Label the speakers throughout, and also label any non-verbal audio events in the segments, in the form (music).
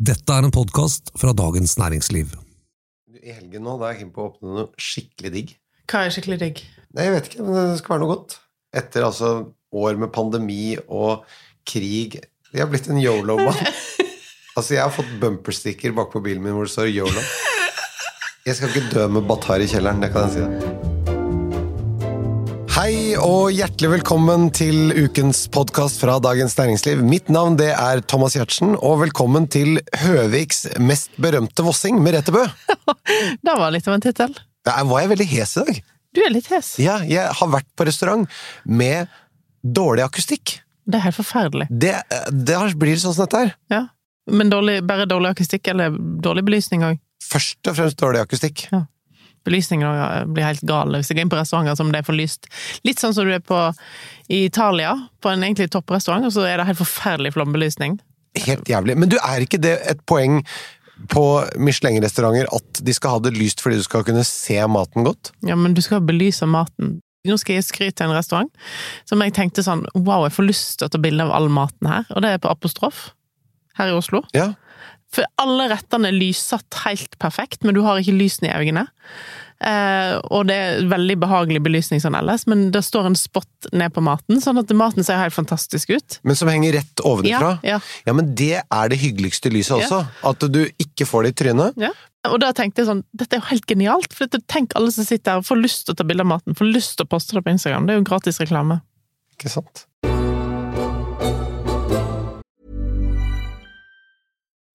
Speaker 1: Dette er en podkast fra Dagens Næringsliv.
Speaker 2: I helgen nå, da er jeg keen på å åpne noe skikkelig digg.
Speaker 3: Hva er skikkelig digg?
Speaker 2: Nei, jeg vet ikke, men det skal være noe godt. Etter altså år med pandemi og krig Jeg har blitt en yolo-mann. Altså, jeg har fått bumpersticker bak på bilen min hvor det står yolo. Jeg skal ikke dø med Batar i kjelleren, det kan jeg si deg. Hei og hjertelig velkommen til ukens podkast fra Dagens Næringsliv. Mitt navn det er Thomas Giertsen, og velkommen til Høviks mest berømte vossing, Merete Bø.
Speaker 3: Det var litt av en tittel.
Speaker 2: Der var jeg veldig hes i dag.
Speaker 3: Du er litt hes.
Speaker 2: Ja, jeg har vært på restaurant med dårlig akustikk.
Speaker 3: Det er helt forferdelig.
Speaker 2: Det, det har- blir sånn som dette her.
Speaker 3: Ja. Men dårlig, bare dårlig akustikk, eller dårlig belysning òg.
Speaker 2: Først og fremst dårlig akustikk.
Speaker 3: Belysningen også eh, blir helt gal hvis jeg går inn på restauranter som det er for lyst. Litt sånn som du er på i Italia, på en egentlig topprestaurant, og så er det helt forferdelig flombelysning.
Speaker 2: Helt jævlig. Men du er ikke det et poeng på Michelin-restauranter at de skal ha det lyst fordi du skal kunne se maten godt?
Speaker 3: Ja, men du skal belyse maten. Nå skal jeg skryte av en restaurant som jeg tenkte sånn Wow, jeg får lyst til å ta bilde av all maten her. Og det er på Apostrof her i Oslo.
Speaker 2: Ja.
Speaker 3: For alle rettene er lyssatt helt perfekt, men du har ikke lysene i øynene. Eh, og det er veldig behagelig belysning sånn ellers, men det står en spot ned på maten, sånn at maten ser helt fantastisk ut.
Speaker 2: Men som henger rett
Speaker 3: Ja,
Speaker 2: ovenfra?
Speaker 3: ja,
Speaker 2: Ja, men det er det hyggeligste lyset også. At du ikke får det i trynet.
Speaker 3: ja. Og da tenkte jeg sånn, dette er jo helt genialt, for dette- tenk alle som sitter her og får lyst til å ta bilde av maten, får lyst til å poste det på Instagram, det er jo gratis reklame.
Speaker 2: Ikke sant?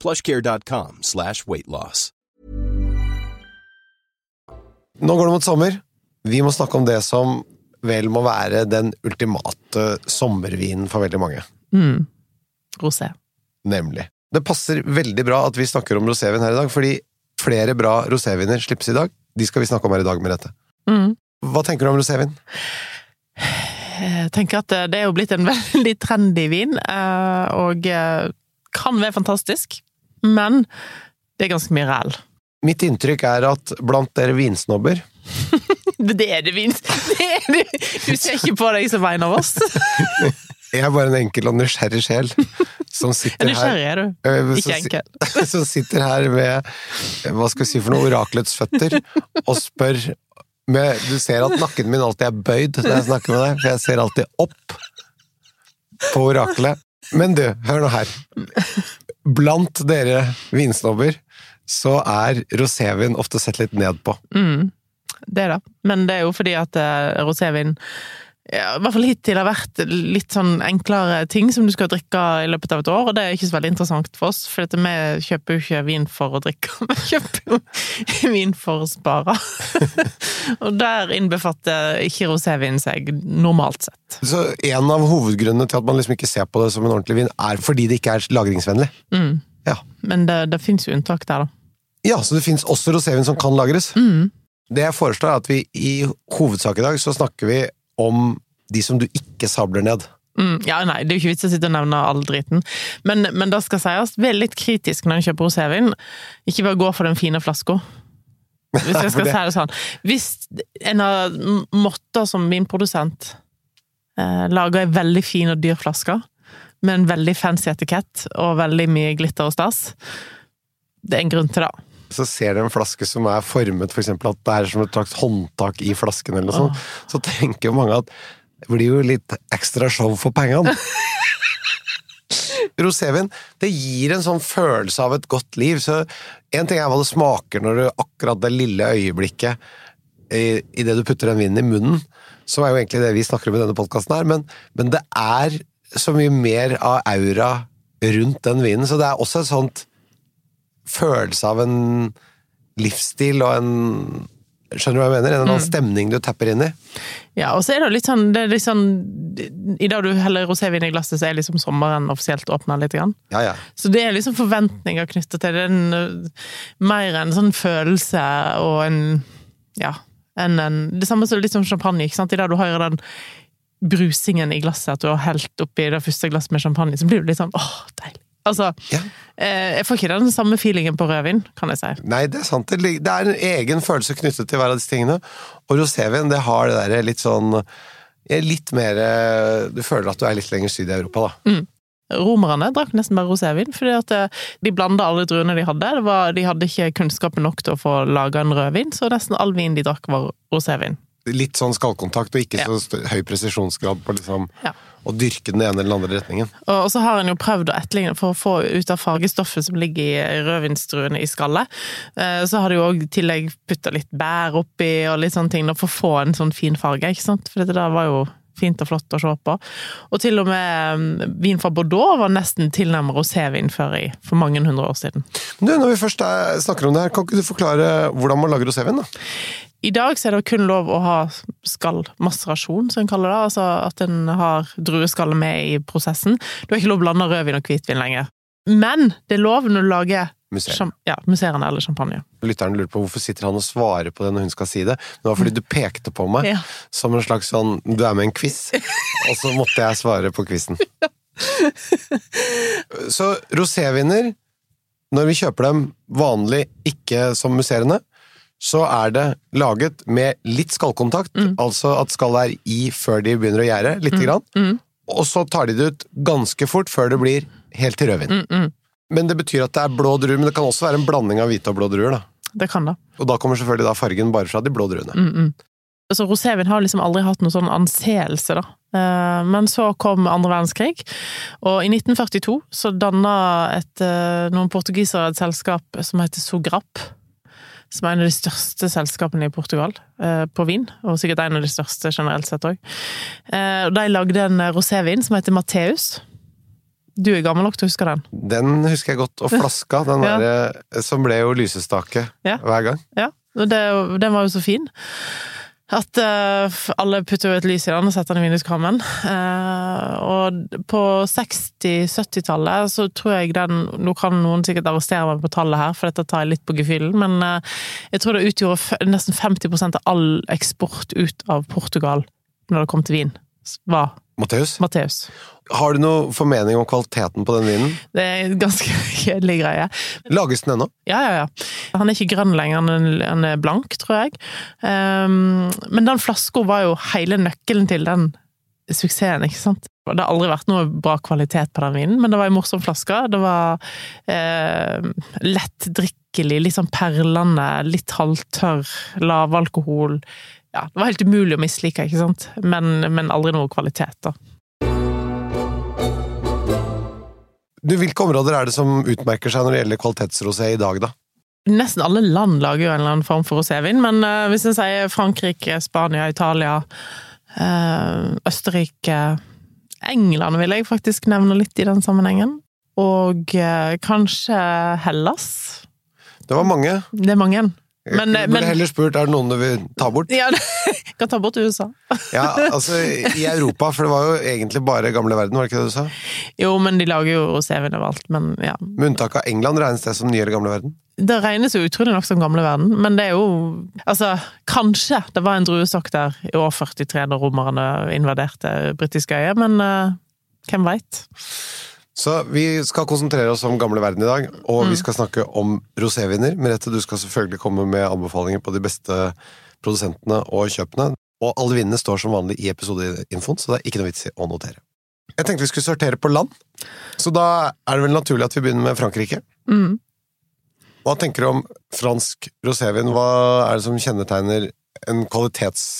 Speaker 4: plushcare.com slash weight loss.
Speaker 2: Nå går det mot sommer. Vi må snakke om det som vel må være den ultimate sommervinen for veldig mange.
Speaker 3: Mm. Rosé.
Speaker 2: Nemlig. Det passer veldig bra at vi snakker om rosévin her i dag, fordi flere bra roséviner slippes i dag. De skal vi snakke om her i dag, Merete.
Speaker 3: Mm.
Speaker 2: Hva tenker du om rosévin?
Speaker 3: Jeg tenker at eh, det er jo blitt en (laughs) veldig trendy vin, eh, og eh, kan være fantastisk, men det er ganske mye ræl.
Speaker 2: Mitt inntrykk er at blant dere vinsnobber
Speaker 3: Det er det, Vince. Det er det. Du ser ikke på deg som en av oss.
Speaker 2: Jeg er bare en enkel og nysgjerrig sjel
Speaker 3: (laughs)
Speaker 2: som sitter her
Speaker 3: Nysgjerrig er du.
Speaker 2: øh,
Speaker 3: Ikke
Speaker 2: som si-
Speaker 3: enkel.
Speaker 2: (laughs) Som sitter her med hva skal vi si for noe, orakelets føtter, og spør med, Du ser at nakken min alltid er bøyd når jeg snakker med deg, for jeg ser alltid opp på oraklet. Men du, hør nå her. Blant dere vinsnobber så er rosévin ofte sett litt ned på.
Speaker 3: Mm. Det er det. Men det er jo fordi at eh, rosévin ja, i hvert fall hittil har vært litt sånn enklere ting som du skal drikke i løpet av et år, og det er ikke så veldig interessant for oss, for dette, vi kjøper jo ikke vin for å drikke, (laughs) vi kjøper jo vin for å spare. (laughs) og der innbefatter ikke rosévin seg, normalt sett.
Speaker 2: Så en av hovedgrunnene til at man liksom ikke ser på det som en ordentlig vin, er fordi det ikke er lagringsvennlig.
Speaker 3: Mm.
Speaker 2: Ja.
Speaker 3: Men det, det fins jo unntak der, da.
Speaker 2: Ja, så det finnes også rosévin som kan lagres. Det jeg foreslår er at vi i hovedsak i dag så snakker vi om de som du ikke sabler ned.
Speaker 3: Mm, ja, nei, det er jo ikke vits å sitte og nevne all driten. Men, men det skal sies, vær litt kritisk når en kjøper rosévin. Ikke bare gå for den fine flaska. Hvis jeg
Speaker 2: For
Speaker 3: skal
Speaker 2: det-
Speaker 3: si det sånn. Hvis en har måttet som vinprodusent eh, lage ei veldig fin og dyr flaske med en veldig fancy etikett og veldig mye glitter og stas, det er en grunn til det.
Speaker 2: Så ser du en flaske som er formet, for eksempel at det er som et slags håndtak i flasken, eller noe sånt, så tenker jo mange at det blir jo litt ekstra show for pengene. Rosévin det gir en sånn følelse av et godt liv. så En ting er hva det smaker når du akkurat det lille øyeblikket i, i det du putter den vinen i munnen, som er jo egentlig det vi snakker om i denne podkasten her, men, men det er så mye mer av aura rundt den vinen. Så det er også et sånt følelse av en livsstil og en, Skjønner du hva jeg mener? En eller annen stemning du tapper inn i.
Speaker 3: Ja, og så er det jo litt sånn, det er litt sånn I dag du heller rosévin i glasset, så er liksom sommeren offisielt åpna litt. Grann.
Speaker 2: Ja, ja.
Speaker 3: Så det er liksom forventninger knytta til det. det. er en, øh, Mer en sånn følelse og en Ja. Enn en Det samme som litt som champagne. ikke sant? I dag du har jo den brusingen i glasset, at du har helt oppi det første glasset med champagne, så blir du litt sånn åh, deilig. Altså,
Speaker 2: Ja.
Speaker 3: eh, jeg får ikke den samme feelingen på rødvin, kan jeg si.
Speaker 2: Nei, det er sant. Det lig- det er en egen følelse knyttet til hver av disse tingene. Og rosévin, det har det derre litt sånn eh, Litt mer eh, Du føler at du er litt lenger syd i Europa, da.
Speaker 3: Romerne drakk nesten bare rosévin, fordi at eh, de blanda alle druene de hadde. Det var, de hadde ikke kunnskapen nok til å få laga en rødvin, så nesten all vin de drakk, var rosévin.
Speaker 2: Litt sånn skallkontakt, og ikke så st- høy presisjonsgrad på liksom
Speaker 3: Ja.
Speaker 2: å dyrke den ene eller den andre retningen.
Speaker 3: Og og så har en jo prøvd å etterligne for å få ut av fargestoffet som ligger i rødvinstruene i skallet. Eh, Så har de jo òg i tillegg putta litt bær oppi og litt sånne ting da, for å få en sånn fin farge, ikke sant. For dette der var jo fint og flott å se på. Og til og med eh, vin fra Bordeaux var nesten tilnærmet rosévin før i, for mange hundre år siden.
Speaker 2: Du, når vi først er, snakker om det her, kan ikke du forklare hvordan man lager rosévin, da?
Speaker 3: I dag så er det jo kun lov å ha skallmaserasjon, som en kaller det. Altså at en har drueskallet med i prosessen. Du har ikke lov å blande rødvin og hvitvin lenger. Men det er lov når du lager
Speaker 2: Museer.
Speaker 3: sjam- ja, musserende eller champagne.
Speaker 2: Lytteren lurer på hvorfor sitter han og svarer på det når hun skal si det. Men det var fordi du pekte på meg
Speaker 3: Ja.
Speaker 2: som en slags sånn Du er med i en quiz, og så måtte jeg svare på quizen. Så roséviner, når vi kjøper dem vanlig ikke som musserende, så er det laget med litt skallkontakt, altså at skallet er i før de begynner å gjære, lite grann. Og så tar de det ut ganske fort før det blir helt til rødvin. Men det betyr at det er blå druer, men det kan også være en blanding av hvite og blå druer. da.
Speaker 3: Det kan det.
Speaker 2: Og da kommer selvfølgelig da fargen bare fra de blå druene.
Speaker 3: Mm. Altså, rosévin har liksom aldri hatt noen sånn anseelse, da. Eh, Men så kom andre verdenskrig, og i 1942 så danna et, eh, noen portugisere et selskap som heter Sograp. Som er en av de største selskapene i Portugal eh, på vin, og sikkert en av de største generelt sett òg. De lagde en eh, rosévin som heter Matteus. Du er gammel nok til å huske den.
Speaker 2: Den husker jeg godt, og flaska, den
Speaker 3: Ja.
Speaker 2: der, eh, som ble jo lysestake
Speaker 3: Ja.
Speaker 2: hver gang.
Speaker 3: Ja, og det, den var jo så fin. At eh, f- alle putter jo et lys i den og setter den i vinduskarmen. Eh, og på 60-70-tallet så tror jeg den Nå kan noen sikkert arrestere meg på tallet her, for dette tar jeg litt på gefühlen, men eh, jeg tror det utgjorde f- nesten 50 av all eksport ut av Portugal når det kom til vin, s- var
Speaker 2: Matteus,
Speaker 3: Matteus.
Speaker 2: har du noe formening om kvaliteten på den vinen?
Speaker 3: Det er en ganske (laughs) kjedelig greie.
Speaker 2: Lages den ennå?
Speaker 3: Ja, ja, ja. Han er ikke grønn lenger, han er- han er blank, tror jeg. Ehm, men den flaska var jo hele nøkkelen til den suksessen, ikke sant? Og Det har aldri vært noe bra kvalitet på den vinen, men det var en morsom flaske. Det var eh, lettdrikkelig, litt sånn perlende, litt halvtørr, lav alkohol. Ja, det var helt umulig å mislike, ikke sant? Men, men aldri noe kvalitet, da.
Speaker 2: Du, Hvilke områder er det som utmerker seg når det gjelder kvalitetsrosé i dag, da?
Speaker 3: Nesten alle land lager jo en eller annen form for rosévin, men eh, hvis en sier Frankrike, Spania, Italia, eh, Østerrike England vil jeg faktisk nevne litt i den sammenhengen. Og eh, kanskje Hellas.
Speaker 2: Det var mange.
Speaker 3: Det er mange. Men,
Speaker 2: du
Speaker 3: eh,
Speaker 2: burde
Speaker 3: men
Speaker 2: heller spurt er det noen du vil ta bort.
Speaker 3: ja, (laughs) Kan ta bort USA.
Speaker 2: Ja, altså i Europa, for det var jo egentlig bare gamle verden, var det ikke det du sa?
Speaker 3: Jo, men de lager jo rosévin overalt, men ja.
Speaker 2: Med unntak av England regnes det som nyere gamle verden.
Speaker 3: Det regnes jo utrolig nok som gamle verden, men det er jo Altså, kanskje det var en druestokk der i år 43 da romerne invaderte britiske øyer, men eh, hvem veit?
Speaker 2: Så vi skal konsentrere oss om gamle verden i dag, og vi skal snakke om roséviner. Merete, du skal selvfølgelig komme med anbefalinger på de beste produsentene og kjøpene. Og alle vinene står som vanlig i episodeinfoen, så det er ikke noe vits i å notere. Jeg tenkte vi skulle sortere på land, så da er det vel naturlig at vi begynner med Frankrike.
Speaker 3: Mm.
Speaker 2: Hva tenker du om fransk rosévin? Hva er det som kjennetegner en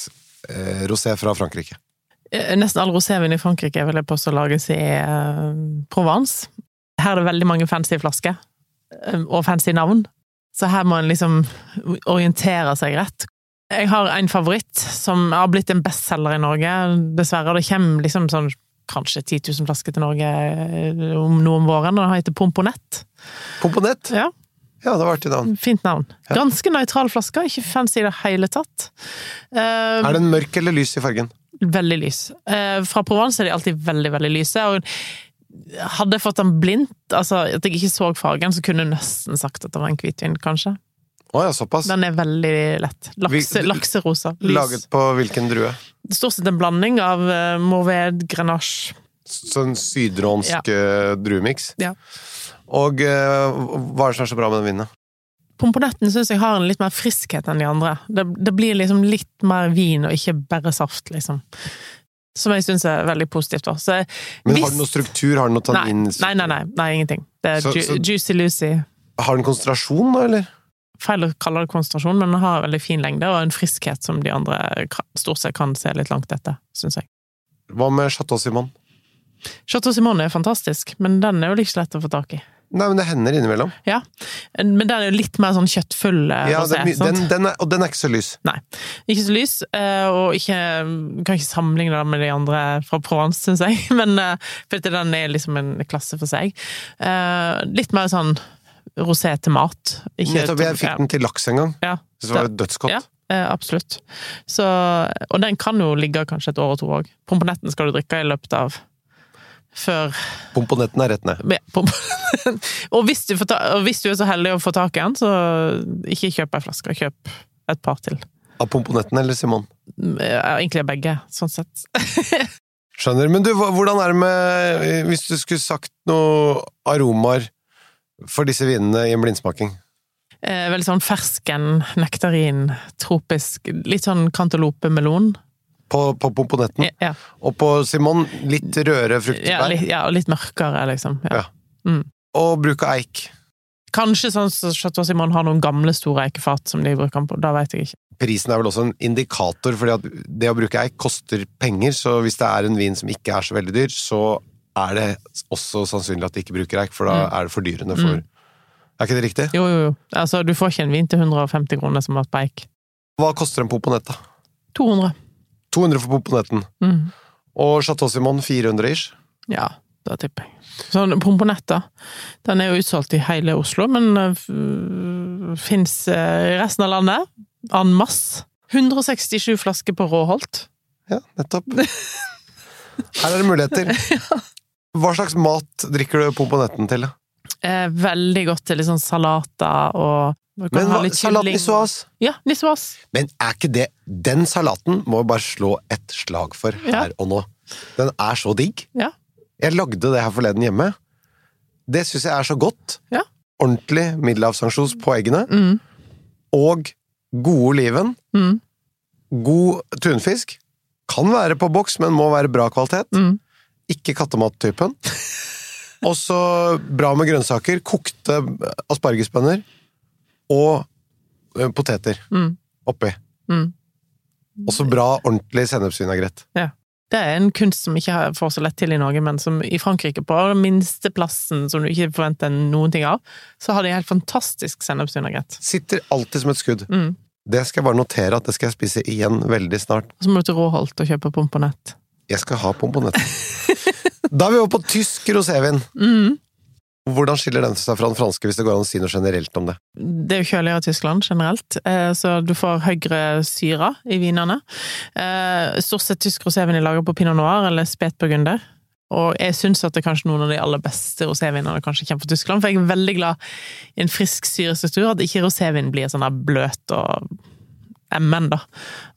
Speaker 2: kvalitetsrosé fra Frankrike?
Speaker 3: Eh, Nesten all rosévin i Frankrike vil jeg påstå lages i eh, Provence. Her er det veldig mange fancy flasker eh, og fancy navn, så her må en liksom orientere seg rett. Jeg har en favoritt som har blitt en bestselger i Norge, dessverre. og Det kommer liksom sånn kanskje 10 000 flasker til Norge eh, om noe om våren, og den heter Pomponett.
Speaker 2: Komponett?
Speaker 3: Ja.
Speaker 2: Ja, det var artig navn.
Speaker 3: Fint navn. Ganske nøytral flaske, ikke fancy i det hele tatt. Eh,
Speaker 2: Er den mørk eller lys i fargen?
Speaker 3: Veldig lys. Eh, fra Provence er de alltid veldig, veldig lyse. og hadde jeg fått den blindt, altså at jeg ikke så fargen, så kunne jeg nesten sagt at det var en hvitvin, kanskje.
Speaker 2: Å ja, såpass.
Speaker 3: Den er veldig lett. Lakse,
Speaker 2: Vi-
Speaker 3: lakserosa. Lys.
Speaker 2: Laget på hvilken drue?
Speaker 3: Stort sett en blanding av uh, Mourved, Grenache
Speaker 2: Sånn sydronsk eh, druemiks.
Speaker 3: Ja.
Speaker 2: Og eh, hva er det som er så bra med den vinen?
Speaker 3: Pomponetten syns jeg har en litt mer friskhet enn de andre. Det, det blir liksom litt mer vin og ikke bare saft, liksom. Som jeg syns er veldig positivt. da. Så jeg-
Speaker 2: Men
Speaker 3: hvis-
Speaker 2: har den noe struktur? Har den noe
Speaker 3: Nei,
Speaker 2: tannin?
Speaker 3: nei, nei, nei, nei, ingenting. Det er
Speaker 2: Så-
Speaker 3: ju,
Speaker 2: så-
Speaker 3: Juicy Lucy.
Speaker 2: Har den konsentrasjon, da, eller?
Speaker 3: Feil å kalle det konsentrasjon, men den har en veldig fin lengde og en friskhet som de andre kan- stort sett kan se litt langt etter, syns jeg.
Speaker 2: Hva med Chateau Simon?
Speaker 3: Chateau Simone er fantastisk, men den er jo ikke så lett å få tak i.
Speaker 2: Nei, men det hender innimellom.
Speaker 3: Ja, Men den er jo litt mer sånn kjøttfull. eh,
Speaker 2: Ja, det
Speaker 3: rosé,
Speaker 2: er my-
Speaker 3: sant?
Speaker 2: den, den er, og den er ikke så lys.
Speaker 3: Nei. Ikke så lys, eh, og ikke, kan ikke sammenligne den med de andre fra Provence, syns jeg. (laughs) Men eh, for at den er liksom en klasse for seg. Eh, Litt mer sånn rosé til mat. Ikke-
Speaker 2: Nettopp, jeg fikk den til laks en gang.
Speaker 3: Ja,
Speaker 2: Så det var det dødsgodt.
Speaker 3: ja eh, absolutt. Så, og den kan jo ligge kanskje et år og to òg. Pomponetten skal du drikke i løpet av før
Speaker 2: Pomponetten er rett ned.
Speaker 3: ja, pomp- (laughs) og, hvis du får ta, og hvis du er så heldig å få tak i den, så ikke kjøp ei flaske, kjøp et par til.
Speaker 2: Av pomponetten eller Simon?
Speaker 3: Ja, Egentlig begge, sånn sett.
Speaker 2: Skjønner. Men du, hva- hvordan er det med eh, Hvis du skulle sagt noe aromaer for disse vinene i en blindsmaking?
Speaker 3: Eh, veldig sånn fersken, nektarin, tropisk. Litt sånn kantelope-melon.
Speaker 2: På, på pomponetten?
Speaker 3: Ja, ja,
Speaker 2: Og på Simon litt rødere
Speaker 3: ja,
Speaker 2: fruktbær?
Speaker 3: litt, ja, og litt mørkere, liksom. Ja.
Speaker 2: Ja.
Speaker 3: Mm.
Speaker 2: Og bruke eik.
Speaker 3: Kanskje sånn som Chateau Simon har noen gamle store eikefat som de bruker den på. Da vet jeg ikke.
Speaker 2: Prisen er vel også en indikator, fordi at det å bruke eik koster penger, så hvis det er en vin som ikke er så veldig dyr, så er det også sannsynlig at de ikke bruker eik, for da
Speaker 3: Mm.
Speaker 2: er det fordyrende for Er ikke det riktig?
Speaker 3: Jo, jo, jo. Altså, du får ikke en vin til 150 kroner som har vært på eik.
Speaker 2: Hva koster en poponett, da?
Speaker 3: 200.
Speaker 2: 200 for poponetten.
Speaker 3: Mm.
Speaker 2: Og Chateau Simon 400 ish.
Speaker 3: Ja, da tipper jeg. Sånn Pomponetta. Den er jo utsolgt i hele Oslo, men fins i resten av landet. En masse. 167 flasker på Råholt.
Speaker 2: Ja,
Speaker 3: (laughs)
Speaker 2: nettopp. Her er det muligheter. Hva slags mat drikker du poponetten til? da?
Speaker 3: Eh, veldig godt til litt sånn salater og du kan
Speaker 2: Men
Speaker 3: ha
Speaker 2: hva,
Speaker 3: litt
Speaker 2: salat
Speaker 3: kylling.
Speaker 2: nisoise?
Speaker 3: Ja, nisoas.
Speaker 2: Men er ikke det Den salaten må vi bare slå et slag for
Speaker 3: Ja.
Speaker 2: her og nå. Den er så digg.
Speaker 3: Ja.
Speaker 2: Jeg lagde det her forleden hjemme. Det syns jeg er så godt.
Speaker 3: Ja.
Speaker 2: Ordentlig middelavsansjos på eggene.
Speaker 3: Mm.
Speaker 2: Og gode oliven.
Speaker 3: Mm.
Speaker 2: God tunfisk. Kan være på boks, men må være bra kvalitet.
Speaker 3: Mm.
Speaker 2: Ikke kattemattypen. Og så bra med grønnsaker. Kokte aspargesbønner. Og eh, poteter
Speaker 3: Mm.
Speaker 2: oppi.
Speaker 3: Mm.
Speaker 2: Og så bra, ordentlig sennepsvinagrett.
Speaker 3: Det er en kunst som ikke har- får så lett til i Norge, men som i Frankrike, på den minste plassen som du ikke forventer noen ting av, så har de helt fantastisk sennepsvinagrett.
Speaker 2: Sitter alltid som et skudd.
Speaker 3: Mm.
Speaker 2: Det skal jeg bare notere at det skal jeg spise igjen veldig snart.
Speaker 3: Og så må du til Råholt og kjøpe pomponett.
Speaker 2: Jeg skal ha
Speaker 3: (laughs)
Speaker 2: pomponetter. da er vi over på tysk rosévin.
Speaker 3: Mm.
Speaker 2: Hvordan skiller den seg fra den franske, hvis det går an å si noe generelt om det?
Speaker 3: Det er jo kjøligere i Tyskland generelt, eh, så du får høyere syre i vinene. Eh, Stort sett tysk rosévin de lager på pinot noir eller spetburgunder. Og jeg syns at det er kanskje noen av de aller beste rosévinene kanskje kommer fra Tyskland, for jeg er veldig glad i en frisk syrestruktur, at ikke rosévin blir sånn der bløt og emmen, da.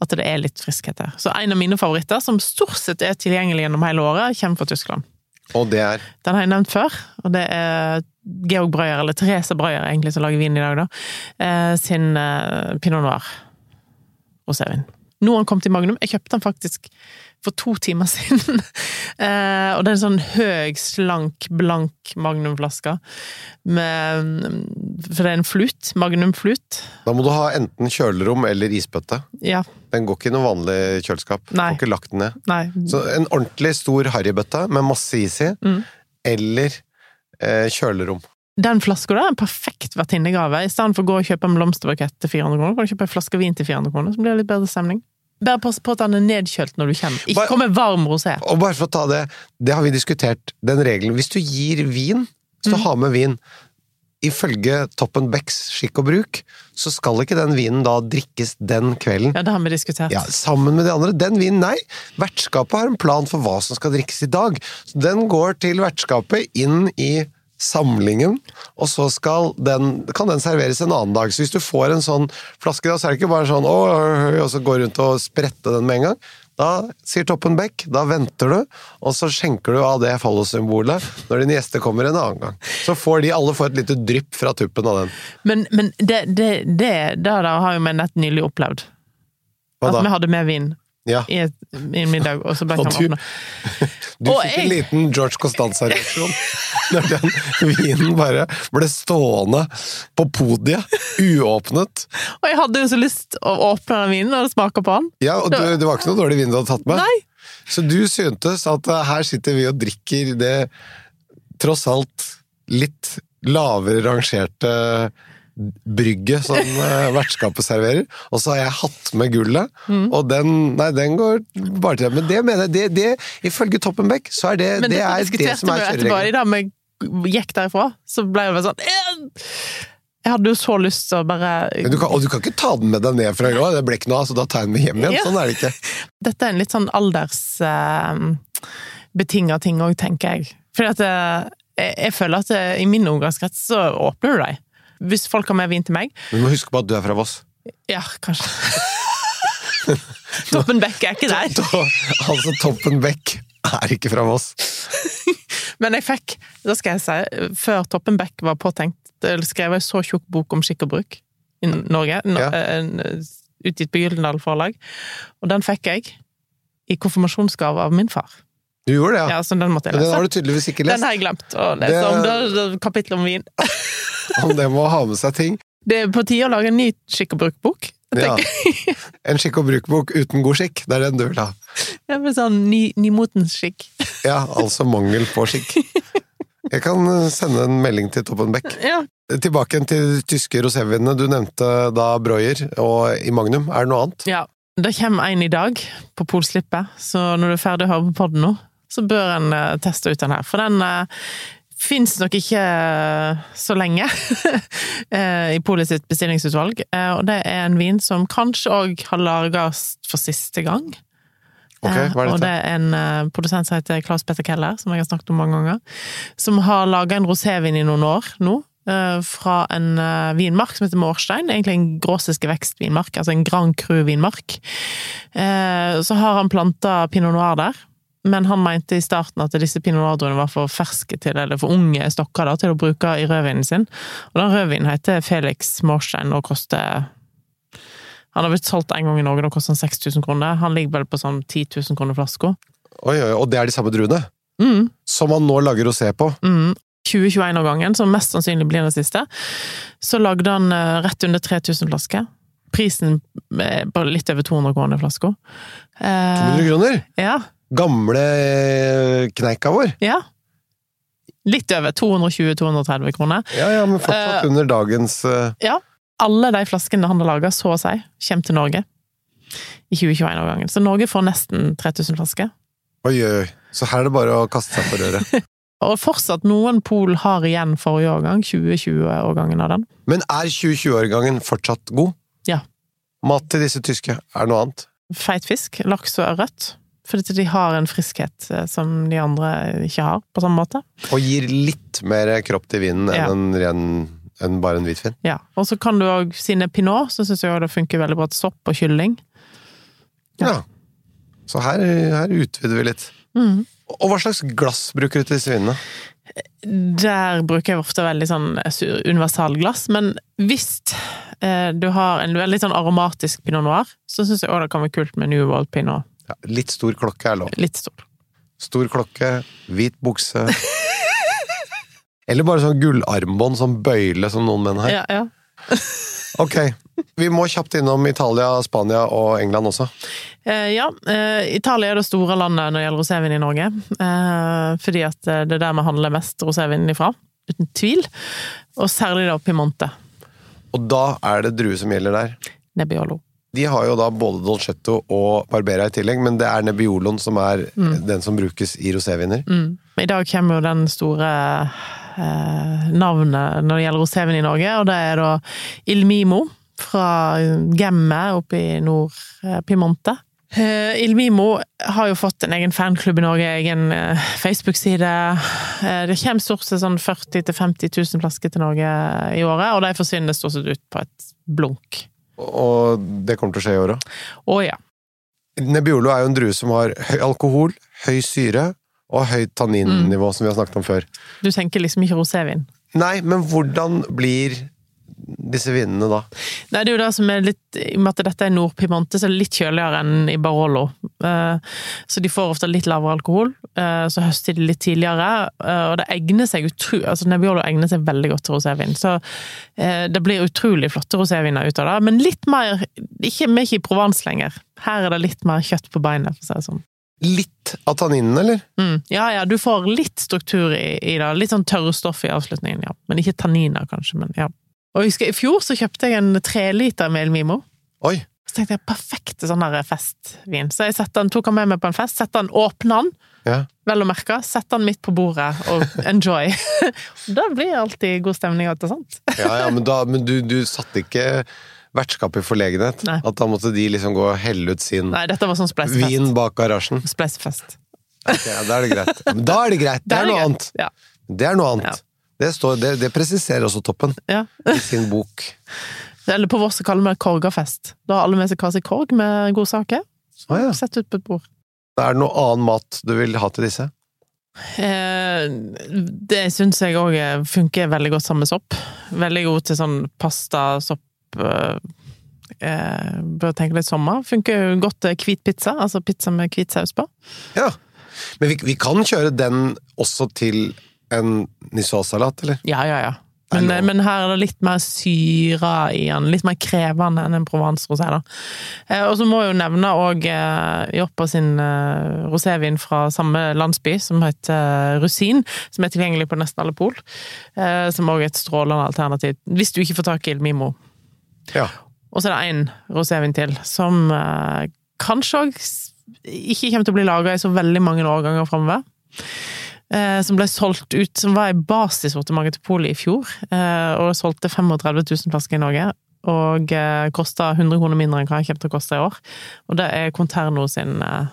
Speaker 3: At det er litt friskhet der. Så en av mine favoritter, som stort sett er tilgjengelig gjennom hele året, kommer fra Tyskland.
Speaker 2: Og det er
Speaker 3: Den har jeg nevnt før, og det er Georg Brøyer, eller Therese Brøyer egentlig, som lager vin i dag, da, eh, sin eh, pinot noir rosévin. Nå har den kommet i Magnum. Jeg kjøpte den faktisk for to timer (laughs) siden. eh, og det er en sånn høy, slank, blank magnumflaske. med- mm, For det er en flut. Magnumflut.
Speaker 2: Da må du ha enten kjølerom eller isbøtte.
Speaker 3: Ja,
Speaker 2: Den går ikke i noe vanlig kjøleskap.
Speaker 3: Nei.
Speaker 2: Får ikke lagt den ned.
Speaker 3: nei.
Speaker 2: Så en ordentlig stor harrybøtte med masse is i,
Speaker 3: Mm.
Speaker 2: eller eh, kjølerom.
Speaker 3: Den flaska der er en perfekt vertinnegave. I stedet for å gå og kjøpe en blomsterbukett til 400 kroner, kan du kjøpe en flaske vin til 400 kroner, så blir det litt bedre stemning. Bare pass på at den er nedkjølt når du kommer. Ikke
Speaker 2: Bare-
Speaker 3: kom med varm rosé.
Speaker 2: Og bare for å ta det, det har vi diskutert, den regelen. Hvis du gir vin, hvis du har med vin, ifølge Toppen Becks skikk og bruk, så skal ikke den vinen da drikkes den kvelden.
Speaker 3: Ja, det har vi diskutert.
Speaker 2: Ja, sammen med de andre. Den vinen, nei. Vertskapet har en plan for hva som skal drikkes i dag. Så den går til vertskapet inn i samlingen, og så skal den, kan den serveres en annen dag. Så hvis du får en sånn flaske, da, så er det ikke bare sånn «Åh, øh, øh», og så gå rundt og sprette den med en gang. Da sier Toppen Beck, da venter du, og så skjenker du av det fallosymbolet når dine gjester kommer en annen gang. Så får de alle får et lite drypp fra tuppen av den.
Speaker 3: Men, men det, det, det, det der har jo vi nett nylig opplevd.
Speaker 2: Hva
Speaker 3: At
Speaker 2: da?
Speaker 3: vi hadde med vin
Speaker 2: Ja.
Speaker 3: i, et, i en middag, og så ble
Speaker 2: Og
Speaker 3: han
Speaker 2: du,
Speaker 3: åpna.
Speaker 2: du
Speaker 3: Og
Speaker 2: fikk en
Speaker 3: jeg-
Speaker 2: liten George Costanza-reaksjon når den vinen bare ble stående på podiet, uåpnet.
Speaker 3: Og jeg hadde jo så lyst å åpne den vinen og smake på den.
Speaker 2: Ja, og du, Det var ikke noe dårlig vin du hadde tatt med.
Speaker 3: Nei!
Speaker 2: Så du syntes at eh, her sitter vi og drikker det tross alt litt lavere rangerte brygget som eh, vertskapet serverer, og så har jeg hatt med gullet,
Speaker 3: Mm.
Speaker 2: og den, nei, den går bare til Men det mener jeg, det, det ifølge Toppenbeck, så er det
Speaker 3: Men
Speaker 2: det,
Speaker 3: det,
Speaker 2: er det
Speaker 3: diskuterte
Speaker 2: som
Speaker 3: vi
Speaker 2: er
Speaker 3: jo etterpå.
Speaker 2: kjøreregelen.
Speaker 3: I dag vi gikk derifra, så ble det bare sånn «Eh!» Jeg hadde jo så lyst til å bare
Speaker 2: Men du kan, og du kan ikke ta den med deg ned fra øya, det ble ikke noe av, så da tar jeg den med hjem igjen.
Speaker 3: Ja.
Speaker 2: Sånn er det ikke. (laughs)
Speaker 3: Dette er en litt sånn aldersbetinga ting òg, tenker jeg. Fordi at eh, jeg, jeg føler at eh, i min omgangskrets så åpner du deg. Hvis folk har med vin til meg,
Speaker 2: Men du må huske på at du er fra Voss.
Speaker 3: ja, kanskje. (laughs) Toppen Beck er ikke
Speaker 2: (laughs)
Speaker 3: der.
Speaker 2: To- altså, Toppenbeck er ikke fra Voss.
Speaker 3: Men jeg fikk, da skal jeg si, før Toppen Beck var påtenkt, eller skrev jeg så tjukk bok om skikk og bruk i Norge, no,
Speaker 2: Ja.
Speaker 3: en, eh, utgitt på Gyldendal Forlag, og den fikk jeg i konfirmasjonsgave av min far.
Speaker 2: Du gjorde det,
Speaker 3: Ja,
Speaker 2: Ah. ja.
Speaker 3: så den måtte jeg
Speaker 2: Men den
Speaker 3: lese.
Speaker 2: har du tydeligvis ikke
Speaker 3: Den
Speaker 2: lest,
Speaker 3: har jeg glemt å lese om. Det er kapittel om vin.
Speaker 2: om det må ha med seg (laughs) ting.
Speaker 3: Det er på tide å lage en ny skikk og bruk-bok.
Speaker 2: Ja.
Speaker 3: (laughs) Ja.
Speaker 2: En skikk og bruk-bok uten god skikk, det er den du vil ha.
Speaker 3: Sånn ny, nymotens skikk.
Speaker 2: Ja, altså mangel på skikk. (laughs) Jeg kan eh, sende en melding til Toppenbeck.
Speaker 3: Ja.
Speaker 2: Tilbake igjen til de tyske rosévinene. Du nevnte da Breuer og i Magnum. Er det noe annet?
Speaker 3: ja. Det kommer en i dag på Polslippet, så når du er ferdig å høre på podden nå, så bør en eh, teste ut den her. For den uh, fins nok ikke eh, så lenge (laughs) eh, i Polet sitt bestillingsutvalg. Eh, og det er en vin som kanskje òg har lages for siste gang.
Speaker 2: Ok,
Speaker 3: Eh,
Speaker 2: hva er
Speaker 3: Og det
Speaker 2: dette?
Speaker 3: er en eh, produsent som heter Claes Petter Keller, som jeg har snakket om mange ganger. Som har laga en rosévin i noen år nå. eh, fra en eh, vinmark som heter Mårstein. Egentlig en gråsiske vekstvinmark, altså en Grand Cru-vinmark. Eh, så har han planta pinot noir der. Men han mente i starten at disse pinot noir-druene var for ferske til, eller for unge stokker da, til å bruke i rødvinen sin. Og den rødvinen heter Felix Mårstein og koster han har blitt solgt en gang i Norge, da koster han 6000 kroner. Han ligger vel på sånn 10 000 kroner flaska.
Speaker 2: Oi, oi, og det er de samme druene?
Speaker 3: Mm,
Speaker 2: Som man nå lager rosé på?
Speaker 3: mm. 2021-årgangen, som mest sannsynlig blir den siste, så lagde han eh, rett under 3000 flasker. Prisen eh, bare litt over 200 kroner flaska.
Speaker 2: 200
Speaker 3: Eh,
Speaker 2: kroner?
Speaker 3: ja,
Speaker 2: Gamle eh, kneika vår?
Speaker 3: ja. Litt over. 220-230 kroner.
Speaker 2: Ja, ja, men fortsatt
Speaker 3: Eh.
Speaker 2: under dagens eh,
Speaker 3: Ja. Alle de flaskene han har laga, så å si, kommer til Norge i 2021-årgangen. Så Norge får nesten 3000 flasker.
Speaker 2: Oi, oi, oi. Så her er det bare å kaste seg på røret. (laughs)
Speaker 3: Og fortsatt noen pol har igjen forrige årgang, 2020-årgangen av den.
Speaker 2: Men er 2020-årgangen fortsatt god?
Speaker 3: Ja.
Speaker 2: Mat til disse tyske, er det noe annet?
Speaker 3: Feit fisk, laks og ørret. Fordi at de har en friskhet eh, som de andre ikke har, på samme måte.
Speaker 2: Og gir litt mer kropp til vinen enn
Speaker 3: Ja.
Speaker 2: en ren enn bare en hvitvin.
Speaker 3: Ja. Og så kan du òg, siden det er pinot, så syns jeg også det funker veldig bra til sopp og kylling.
Speaker 2: Ja. Så her, her utvider vi litt. Og hva slags glass bruker du til disse vinene?
Speaker 3: Der bruker jeg ofte veldig sånn sur- universalglass, men hvis eh, du har en veldig sånn aromatisk pinot noir, så syns jeg òg det kan være kult med New World pinot.
Speaker 2: Ja, litt stor klokke er lov.
Speaker 3: Litt stor.
Speaker 2: Stor klokke, hvit bukse Eller bare sånn gullarmbånd, sånn bøyle som noen menn har.
Speaker 3: Ja, ja.
Speaker 2: Ok, vi må kjapt innom Italia, Spania og England også.
Speaker 3: Eh, ja, eh, Italia er det store landet når det gjelder rosévin i Norge. Eh, fordi at eh, det er der vi handler mest rosévin ifra, uten tvil. Og særlig da Piemonte
Speaker 2: Og da er det drue som gjelder der.
Speaker 3: Nebbiolo.
Speaker 2: De har jo da både Dolcetto og Barbera i tillegg, men det er Nebbioloen som er den som brukes i roséviner.
Speaker 3: Mm. I dag kommer jo den store eh, navnet når det gjelder rosévin i Norge, og det er da Ilmimo fra Gemme oppe i Nord-Piemonte. Eh, Ilmimo har jo fått en egen fanklubb i Norge, egen eh, Facebook-side. Eh, det kommer stort sett sånn 40 000-50 000 flasker til Norge eh, i året, og de forsvinner stort sett ut på et blunk.
Speaker 2: Og det kommer til å skje i år òg.
Speaker 3: Å ja.
Speaker 2: Nebbiolo er jo en drue som har høy alkohol, høy syre og høyt tanninnivå, som vi har snakket om før.
Speaker 3: Du tenker liksom ikke rosévin?
Speaker 2: Nei, men hvordan blir disse vinene da?
Speaker 3: Nei, det er jo det som er litt I og med at dette er Nord-Piemonte, så er det litt kjøligere enn i Barolo. Eh, Så de får ofte litt lavere alkohol, eh, så høster de litt tidligere. eh, Og det egner seg utru... Altså, Nebbiolo egner seg veldig godt til rosévin. Så eh, det blir utrolig flotte roséviner ut av det. Men litt mer ikke, Vi er ikke i Provence lenger. Her er det litt mer kjøtt på beinet, for å si det sånn.
Speaker 2: Litt av tanninene, eller?
Speaker 3: Mm. Ja ja, du får litt struktur i, i det. Litt sånn tørre stoff i avslutningen, ja. Men ikke tanniner, kanskje. men ja. Og jeg husker, I fjor så kjøpte jeg en treliter med El Mimo.
Speaker 2: Oi!
Speaker 3: Så tenkte jeg, perfekt sånn her festvin. Så jeg sette den, tok den med meg på en fest, sette den, åpne den,
Speaker 2: Ja.
Speaker 3: vel å merke, sette den midt på bordet og enjoy. (laughs) da blir det alltid god stemning av det, sant? (laughs)
Speaker 2: Ja, ja, men, da, men du, du satte ikke vertskapet i forlegenhet?
Speaker 3: Nei.
Speaker 2: At da måtte de liksom gå og helle ut sin
Speaker 3: Nei, dette var sånn spleisefest.
Speaker 2: vin bak garasjen?
Speaker 3: Spleisefest.
Speaker 2: Ok, ja, da er det greit. Ja, Men da er det greit! Det
Speaker 3: Da
Speaker 2: er noe
Speaker 3: gøy.
Speaker 2: annet!
Speaker 3: Ja.
Speaker 2: Det er noe annet.
Speaker 3: Ja.
Speaker 2: Det, står, det, det presiserer også Toppen
Speaker 3: ja.
Speaker 2: i sin bok.
Speaker 3: Eller på vårt så kaller vi det korgafest. Da har alle med seg hver sin korg med godsaker.
Speaker 2: Ah, ja.
Speaker 3: Sett ut på et bord.
Speaker 2: Er det noe annen mat du vil ha til disse?
Speaker 3: Eh, det syns jeg òg funker veldig godt sammen med sopp. Veldig god til sånn pasta, sopp eh, eh, Bør tenke litt sommer. Funker jo godt til hvit pizza, altså pizza med hvit saus på.
Speaker 2: Ja. Men vi, vi kan kjøre den også til en nissosalat, eller?
Speaker 3: Ja, ja, ja.
Speaker 2: Det er
Speaker 3: Men, eh,
Speaker 2: lov.
Speaker 3: men her er det litt mer syre i den. Litt mer krevende enn en Provence-rosé. da. Eh, og så må jeg jo nevne òg eh, Joppa sin eh, rosévin fra samme landsby, som heter Rusin. Som er tilgjengelig på nesten alle pol. Eh, som òg er et strålende alternativ. Hvis du ikke får tak i Il Mimo.
Speaker 2: Ja.
Speaker 3: Og så er det én rosévin til, som eh, kanskje òg s- ikke kommer til å bli laga i så veldig mange årganger framover. Eh, som ble solgt ut, som var i basissortimentet til Polet i fjor. Eh, og solgte 35 000 flasker i Norge. Og eh, kosta 100 kroner mindre enn hva den kommer til å koste i år. Og det er Conterno sin eh,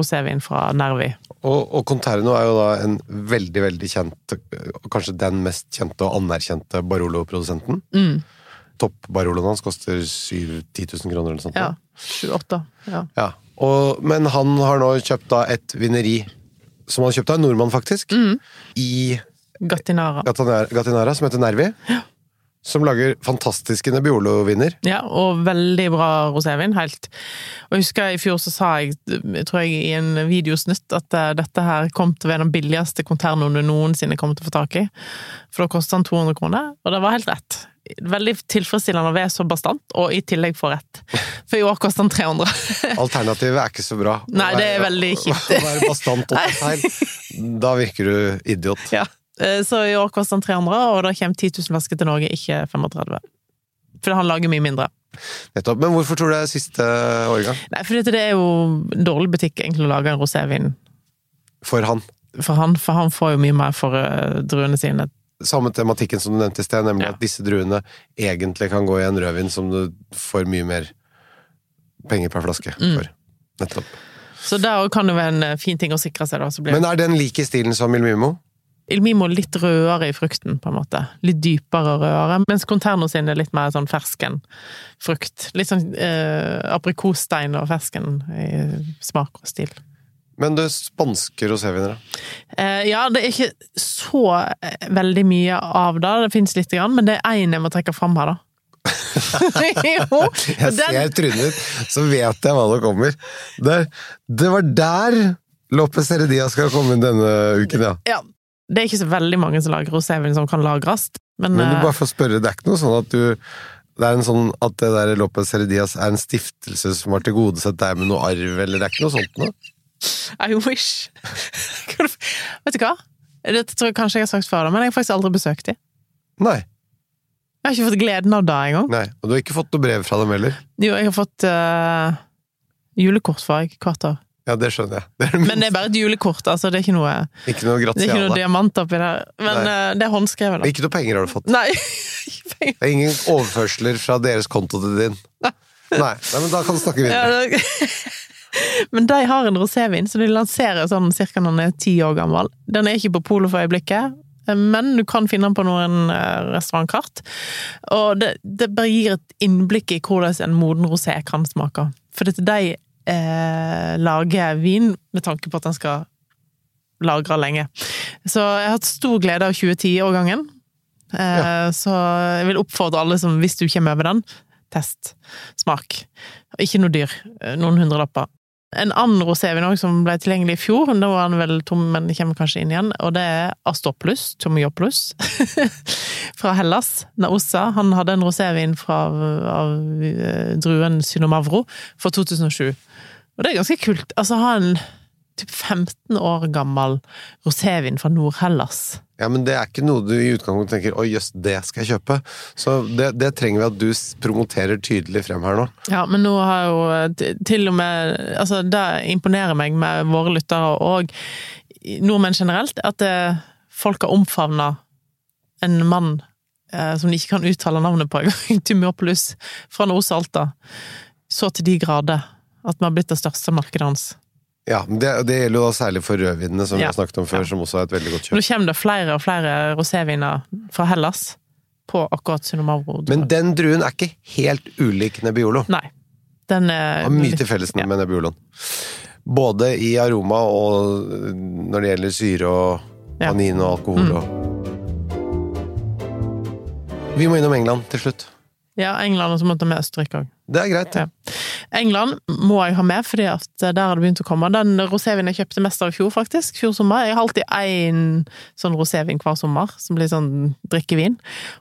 Speaker 3: rosévin fra Nervi.
Speaker 2: Og, og Conterno er jo da en veldig, veldig kjent, og kanskje den mest kjente og anerkjente Barolo-produsenten.
Speaker 3: Mm.
Speaker 2: Topp-Baroloen hans koster 7 10 000 kroner eller noe sånt.
Speaker 3: Ja. 28. Ja.
Speaker 2: Ja. Og, men han har nå kjøpt da et vineri, som han kjøpte av en nordmann faktisk,
Speaker 3: Mm.
Speaker 2: i
Speaker 3: Gattinara.
Speaker 2: Gatanera, Gatinara, som heter Nervi. Som lager fantastiske Nebbiolo-viner.
Speaker 3: Ja, og veldig bra rosévin. Helt. Og jeg husker i fjor så sa jeg, jeg tror jeg i en videosnutt, at eh, dette her kom til å være den billigste konternoen du noensinne kom til å få tak i. For da kostet den 200 kroner, og det var helt rett. Veldig tilfredsstillende å være så bastant, og i tillegg få rett. For i år kostet den 300.
Speaker 2: Alternativet er ikke så bra. Å
Speaker 3: Nei, det er
Speaker 2: være- (laughs)
Speaker 3: veldig kjipt.
Speaker 2: Å være bastant og ta feil. Da virker du idiot.
Speaker 3: (laughs) ja. Eh, Så i år kostet den 300, og da kommer 10 000 flasker til Norge, ikke 35. For han lager mye mindre.
Speaker 2: Nettopp. Men hvorfor tror du det er siste årgang?
Speaker 3: Nei, for det er jo en dårlig butikk egentlig å lage en rosévin
Speaker 2: For han.
Speaker 3: for han, for han får jo mye mer for eh, druene sine.
Speaker 2: Samme tematikken som du nevnte i sted, nemlig
Speaker 3: Ja.
Speaker 2: at disse druene egentlig kan gå i en rødvin som du får mye mer penger per flaske
Speaker 3: Mm.
Speaker 2: for. Nettopp.
Speaker 3: Så det også kan jo være en eh, fin ting å sikre seg, da. Så blir
Speaker 2: Men er den lik i stilen som Ilmimo?
Speaker 3: Ilmimo litt rødere i frukten, på en måte. Litt dypere rødere. Mens Conterno sin er litt mer sånn fersken frukt. Litt sånn eh, aprikosstein og fersken i smak og stil.
Speaker 2: Men du, spanske rosévinere.
Speaker 3: Eh, ja, det er ikke så eh, veldig mye av det. Det fins lite grann, men det er én jeg må trekke fram her, da. (laughs) jo!
Speaker 2: (laughs) Jeg
Speaker 3: den-
Speaker 2: ser trynet ditt, så vet jeg hva det kommer. Der, det var der Lopez Heredia skal komme inn denne uken, ja.
Speaker 3: Ja. Det er ikke så veldig mange som lager rosévin som kan lagres, men,
Speaker 2: Men du
Speaker 3: eh,
Speaker 2: bare får spørre, det er ikke noe sånn at du det er en sånn at det der Lopez Heredias er en stiftelse som har tilgodesett deg med noe arv, eller det er ikke noe sånt noe?
Speaker 3: I wish. Kan du- Vet du hva? Dette tror jeg kanskje jeg har sagt før, da, men jeg har faktisk aldri besøkt dem.
Speaker 2: Nei.
Speaker 3: Jeg har ikke fått gleden av det engang.
Speaker 2: Nei, og du har ikke fått noe brev fra dem heller.
Speaker 3: Jo, jeg har fått eh, julekort for jeg hvert år.
Speaker 2: Ja, det skjønner jeg. Det er det (laughs)
Speaker 3: Men det er bare et julekort, altså. Det er ikke noe,
Speaker 2: minste. Ikke noe
Speaker 3: det er ikke noe
Speaker 2: gratiale.
Speaker 3: diamant oppi der. Men
Speaker 2: Nei.
Speaker 3: eh, det er håndskrevet, da.
Speaker 2: Ikke noe penger har du fått.
Speaker 3: Nei. (laughs) ikke penger.
Speaker 2: Det er ingen overførsler fra deres konto til
Speaker 3: (laughs)
Speaker 2: din. Nei, nei men da kan du snakke
Speaker 3: Ja,
Speaker 2: videre.
Speaker 3: det- (laughs) Men de har en rosévin, så de lanserer sånn cirka når den er ti år gammel. Den er ikke på polet for øyeblikket, men du kan finne den på noen eh, restaurantkart. Og det, det bare gir et innblikk i hvordan en moden rosé kan smake. For dette, de eh, lager vin med tanke på at den skal lagre lenge. Så jeg har hatt stor glede av 2010-årgangen. Eh, Så jeg vil oppfordre alle som, hvis du kommer over den, test. Smak. Ikke noe dyr. eh, Noen hundrelapper. En annen rosévin også, som ble tilgjengelig i fjor, da var den vel tom, men det kommer kanskje inn igjen, og det er Astoplus, Tomioplus, (laughs) fra Hellas, Naossa. Han hadde en rosévin fra av, eh, druen Synomavro fra 2007. Og det er ganske kult. Altså, ha en typ 15 år gammel rosévin fra Nord-Hellas.
Speaker 2: Ja, men det er ikke noe du i utgangspunktet tenker 'Å, jøss, det skal jeg kjøpe'. Så det, det trenger vi at du s- promoterer tydelig frem her nå.
Speaker 3: Ja, men nå har jo eh, t- til og med Altså, det imponerer meg med våre lyttere og nordmenn generelt, at eh, folk har omfavna en mann eh, som de ikke kan uttale navnet på engang, (laughs) Tymiopolis, fra Nord-Salta, så til de grader at vi har blitt det største markedet hans.
Speaker 2: Ja, men det, det gjelder jo da særlig for rødvinene, som vi
Speaker 3: Ja.
Speaker 2: har snakket om før, som også er et veldig godt
Speaker 3: Nå
Speaker 2: kjøp.
Speaker 3: kommer det flere og flere roséviner fra Hellas på akkurat Synomavro.
Speaker 2: Men den druen er ikke helt ulik Nebbiolo.
Speaker 3: Nei. Den eh, er
Speaker 2: Har mye til felles med Nebbioloen. Både i aroma og eh, når det gjelder syre og
Speaker 3: Ja. Mm.
Speaker 2: tannin og alkohol og Vi må innom England til slutt.
Speaker 3: Ja, England, og så måtte vi med Østerrike òg.
Speaker 2: Det er greit.
Speaker 3: Ja. eh, England må jeg ha med, fordi at eh, der har det begynt å komme. Den rosévinen jeg kjøpte mest av i fjor, faktisk, fjor sommer. Jeg har alltid én sånn rosévin hver sommer, som blir sånn drikkevin.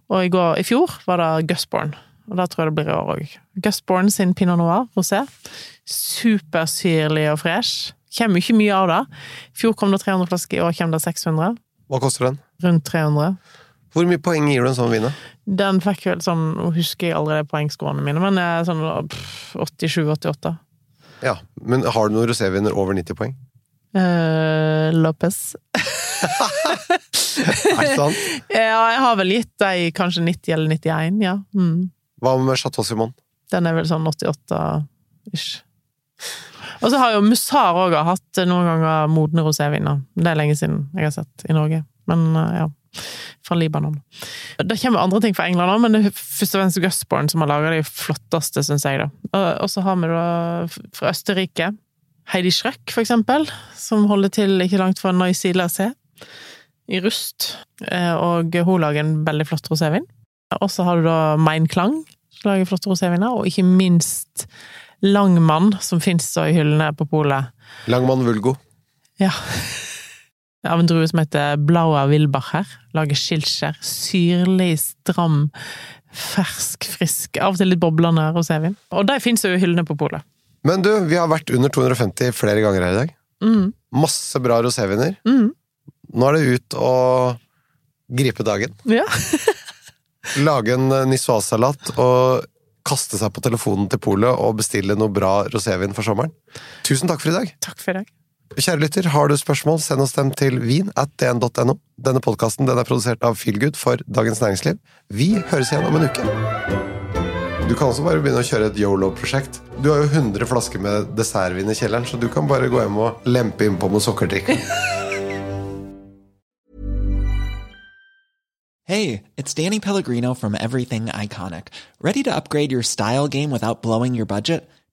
Speaker 3: Og i, går, i fjor var det Gusborne, og da tror jeg det blir i år òg. Gusborne sin pinot noir rosé. Supersyrlig og fresh. Kommer ikke mye av det. I fjor kom det 300 flasker, i år kommer det 600.
Speaker 2: Hva koster den?
Speaker 3: Rundt 300.
Speaker 2: Hvor mye poeng gir du en sånn vin? da?
Speaker 3: Den fikk vel sånn, nå husker jeg allerede poengskårene mine, men eh, sånn pff, 87-88.
Speaker 2: Ja, men har du noen roséviner over 90 poeng?
Speaker 3: Eh, Lopez.
Speaker 2: Er det
Speaker 3: (laughs)
Speaker 2: sant?
Speaker 3: Ja, jeg har vel gitt deg kanskje 90 eller 91, ja. Mm.
Speaker 2: Hva med Chateau Simon?
Speaker 3: Den er vel sånn 88-ish. Og så har jo Mussar òg hatt noen ganger modne roséviner. Det er lenge siden jeg har sett i Norge. Men eh, ja. Fra Libanon. Det kommer andre ting fra England òg, men det er først og fremst Gusborne som har laga de flotteste, syns jeg. da. Og- Og så har vi da f- fra Østerrike Heidi Schreck, for eksempel, som holder til ikke langt fra Neusila C. I Rust. Eh, Og hun lager en veldig flott rosévin. Og så har du da Mein Klang, som lager flotte roséviner. Og ikke minst Langmann, som fins i hyllene på polet.
Speaker 2: Langmann Vulgo.
Speaker 3: Ja. (laughs) Av en drue som heter Blaua Wilbacher. Lager skilskjær. Syrlig, stram, fersk, frisk. Av og til litt boblende rosévin. Og de fins jo i hyllene på polet.
Speaker 2: Men du, vi har vært under 250 flere ganger her i dag.
Speaker 3: Mm.
Speaker 2: Masse bra roséviner.
Speaker 3: Mm.
Speaker 2: Nå er det ut og gripe dagen.
Speaker 3: Ja. (laughs)
Speaker 2: lage en eh, nissoise-salat og kaste seg på telefonen til polet og bestille noe bra rosévin for sommeren. Tusen takk for i dag.
Speaker 3: Takk for i dag.
Speaker 2: Kjære lytter, har du spørsmål, send oss dem til vin at dn.no. Denne podkasten den er produsert av Feelgood for Dagens Næringsliv. Vi høres igjen om en uke. Du kan også bare begynne å kjøre et yolo-prosjekt. Du har jo 100 flasker med dessertvin i kjelleren, så du kan bare gå hjem og lempe innpå med sukkertrikk.
Speaker 5: Hey, it's Danny Pellegrino from Everything Iconic. Ready to upgrade your style game without blowing your budget?